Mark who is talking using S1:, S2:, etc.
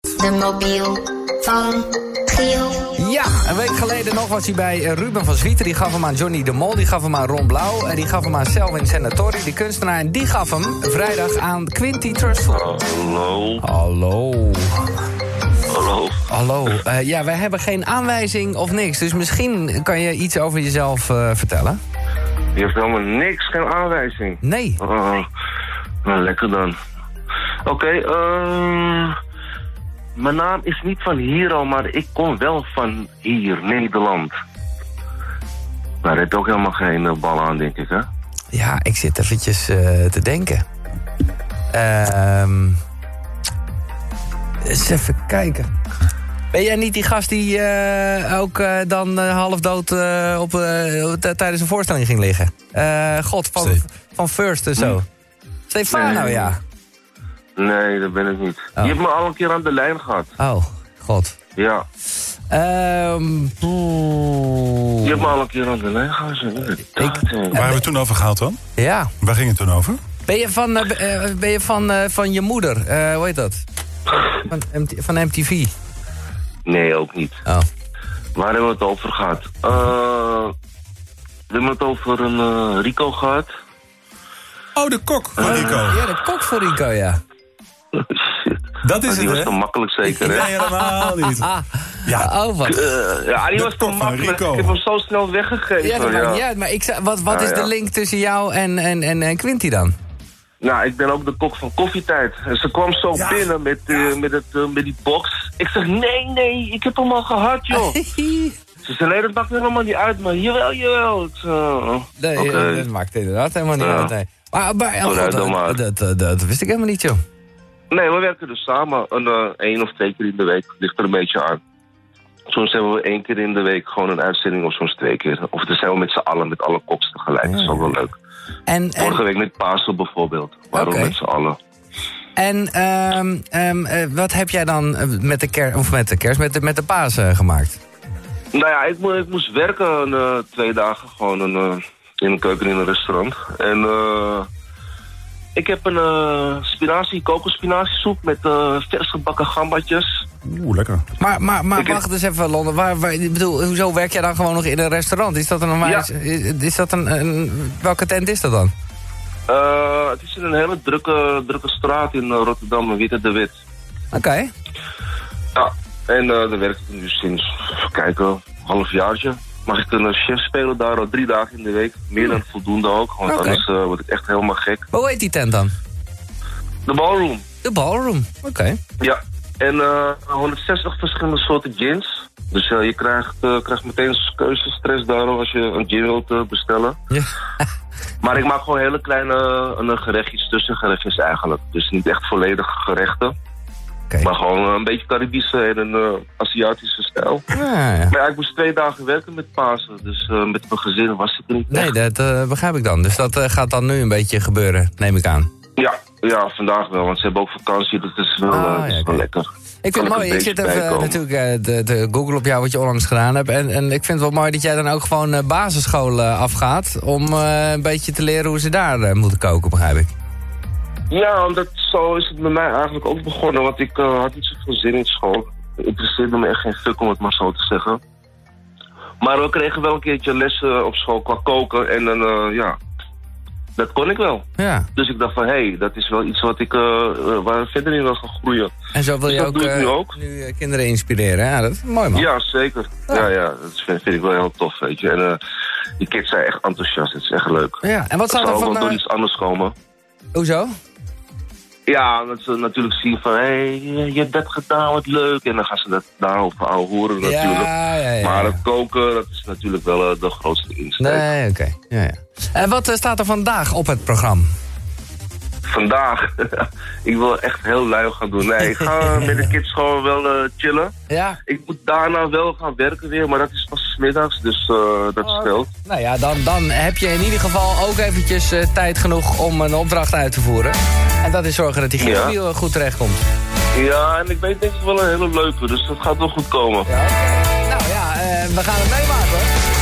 S1: De mobiel van Giel.
S2: Ja, een week geleden nog was hij bij eh, Ruben van Zwieten. Die gaf hem aan Johnny de Mol, die gaf hem aan Ron Blauw... en die gaf hem aan Selwin Senatori, die kunstenaar... en die gaf hem vrijdag aan Quinty Trustful.
S3: Hallo,
S2: Hallo.
S3: hallo.
S2: Hallo. Eh, ja, wij hebben geen aanwijzing of niks. Dus misschien kan je iets over jezelf eh, vertellen?
S3: Je heeft helemaal niks, geen aanwijzing.
S2: Nee.
S3: Oh, nou lekker dan. Oké, eh, mijn naam is niet van hier al, maar ik kom wel van hier, Nederland. Daar heeft ook helemaal geen eh, bal aan, denk ik, hè?
S2: Ja, ik zit eventjes eh, te denken. Ehm eens even kijken. Ben jij niet die gast die eh, ook eh, dan eh, half dood eh, op, eh, t- tijdens een voorstelling ging liggen? Eh, God, van,
S4: Steve.
S2: van First en zo. Stefano,
S3: Nee.
S2: ja.
S3: Nee, dat ben ik niet.
S2: Oh.
S3: Je hebt me al een keer aan de lijn gehad.
S2: Oh, God.
S3: Ja,
S2: Ehm
S3: je
S2: poeh.
S3: hebt me al een keer aan de lijn gehad. zo, eh. inderdaad, hè.
S4: Waar hebben we het toen over gehad dan?
S2: ja.
S4: Waar ging het toen over?
S2: Ben je van, eh, b- eh, ben je van, eh, van je moeder? Eh, hoe heet dat? Van, MT van MTV.
S3: Nee, ook niet.
S2: Oh.
S3: Waar hebben we het over gehad? Eh, we hebben het over een eh, Rico gehad.
S4: Oh, de kok van Rico.
S2: Ja, de kok voor Rico, ja.
S3: Shit.
S4: Dat
S3: Maar
S4: is
S3: Oh, die
S4: het,
S3: was te
S4: hè?
S3: makkelijk zeker, hè?
S4: Nee, helemaal niet. Ja,
S2: Oh, wat.
S3: Eh, ja, die
S4: De
S3: was te
S4: kop van
S3: makkelijk.
S4: Rico.
S3: Ik heb hem zo snel weggegeven.
S2: Ja, dat
S3: ja.
S2: maakt niet uit. Maar ik zei, wat, wat
S3: Ja,
S2: is de
S3: ja.
S2: link tussen jou en, en, en, en Quinty dan?
S3: Nou, ik ben ook de kok van koffietijd. En ze kwam zo
S4: Ja.
S3: binnen met, eh, met, het, eh, met die box. Ik zeg, nee, nee, ik heb hem al gehad, joh. ze zei, nee, dat maakt helemaal niet uit, maar jawel, jawel. Ik zei, oh,
S2: Nee,
S3: oké.
S2: eh, dat maakt inderdaad helemaal niet
S3: Ja.
S2: uit. nee. Maar, maar oh,
S3: Oh, nou,
S2: God,
S3: dan
S2: dat,
S3: maar.
S2: dat, dat, dat wist ik helemaal niet, joh.
S3: Nee, we werken dus samen een, eh, één of twee keer in de week. Ligt er een beetje aan. Soms hebben we één keer in de week gewoon een uitzending of soms twee keer. Of dan zijn we met z'n allen, met alle koks tegelijk. Dat is ook wel leuk.
S2: En, en,
S3: Vorige week met Pasen bijvoorbeeld. Waarom
S2: Oké.
S3: met z'n allen?
S2: en ehm, ehm, eh, wat heb jij dan eh, met de kerst, of met de kerst, met de, met de paas eh, gemaakt?
S3: Nou ja, ik, mo- ik moest werken eh, twee dagen gewoon een, eh, in een keuken in een restaurant. En eh, ik heb een eh spinazie, kokerspinaziesoep met eh vers gebakken gambatjes.
S4: oeh, lekker.
S2: Maar, maar, maar
S3: Ik-
S2: wacht eens even, Londen. Waar, waar, ik bedoel, hoezo werk jij dan gewoon nog in een restaurant? Is dat een, normaal-
S3: Ja.
S2: is, is dat een, een- Welke tent is dat dan?
S3: Eh, het is in een hele drukke, drukke straat in eh, Rotterdam, Witte de Wit.
S2: Oké.
S3: Ja, en eh daar werk ik nu sinds, even kijken, halfjaartje. Mag ik een eh, chef spelen daar al drie dagen in de week. Meer dan voldoende ook, want
S2: Oké.
S3: anders eh, word ik echt helemaal gek.
S2: Maar hoe heet die tent dan?
S3: De ballroom.
S2: De ballroom. Oké.
S3: Ja, en eh, 160 verschillende soorten gins. Dus eh, je krijgt, eh, krijgt meteen keuzestress daarom als je een gin wilt eh, bestellen.
S2: Ja.
S3: Maar ik maak gewoon hele kleine eh, gerechtjes, tussengerechtjes eigenlijk. Dus niet echt volledige gerechten.
S2: Oké.
S3: Maar gewoon eh, een beetje Caribische en een eh, Aziatische stijl.
S2: Ja, Ah, ja.
S3: Maar ja, ik moest twee dagen werken met Pasen. Dus eh, met mijn gezin was het er niet
S2: Nee,
S3: echt.
S2: dat eh, begrijp ik dan. Dus dat eh, gaat dan nu een beetje gebeuren, neem ik aan.
S3: Ja, ja, vandaag wel. Want ze hebben ook vakantie. Dat is wel,
S2: Ah,
S3: eh, dat is
S2: ja,
S3: wel
S2: oké.
S3: lekker.
S2: Ik vind het
S3: Kan ik
S2: mooi,
S3: een
S2: ik zit
S3: beetje
S2: even eh,
S3: bijkomen?
S2: natuurlijk eh, de, de Google op jou wat je onlangs gedaan hebt. En, en ik vind het wel mooi dat jij dan ook gewoon eh, basisschool eh, afgaat... om eh, een beetje te leren hoe ze daar eh, moeten koken, begrijp ik.
S3: Ja, omdat zo is het bij mij eigenlijk ook begonnen. Want ik eh, had niet zoveel zin in school. Het interesseerde me echt geen fuck om het maar zo te zeggen. Maar we kregen wel een keertje lessen op school qua koken. En dan, eh, ja, dat kon ik wel.
S2: Ja,
S3: Dus ik dacht van, hé, hey, dat is wel iets wat ik, eh, eh, waar ik verder in wil gaan groeien.
S2: en zo wil
S3: Dus
S2: je
S3: dat
S2: ook,
S3: doe ik
S2: eh,
S3: nu ook.
S2: eh, kinderen inspireren. Ja, dat is mooi, man.
S3: Ja, zeker. Ja, ja, dat vind, vind ik wel heel tof, weet je. En eh, die kids zijn echt enthousiast. Het is echt leuk.
S2: Ja, en wat
S3: Dat
S2: zou
S3: zou
S2: er
S3: ook wel
S2: van...
S3: door
S2: eh,
S3: iets anders komen.
S2: hoezo?
S3: Ja, dat ze natuurlijk zien van, hé, je hebt dat gedaan, wat leuk. En dan gaan ze dat daarover aan horen natuurlijk.
S2: Ja, ja, ja.
S3: Maar
S2: ja.
S3: het koken, dat is natuurlijk wel eh, de grootste insteek.
S2: Nee, oké. Ja, ja. En wat eh, staat er vandaag op het programma?
S3: Vandaag, ik wil echt heel lui gaan doen. Nee, ik ga met de kids gewoon wel eh, chillen.
S2: Ja,
S3: Ik moet daarna wel gaan werken weer, maar dat is pas 's middags, dus eh, dat speelt.
S2: Nou ja, dan, dan heb je in ieder geval ook eventjes eh, tijd genoeg om een opdracht uit te voeren. En dat is zorgen dat die
S3: Ja.
S2: geelwiel eh, goed terechtkomt.
S3: Ja, en ik weet denk ik wel een hele leuke, dus dat gaat wel goed komen.
S2: Ja, Nou ja, eh, we gaan het meemaken hoor.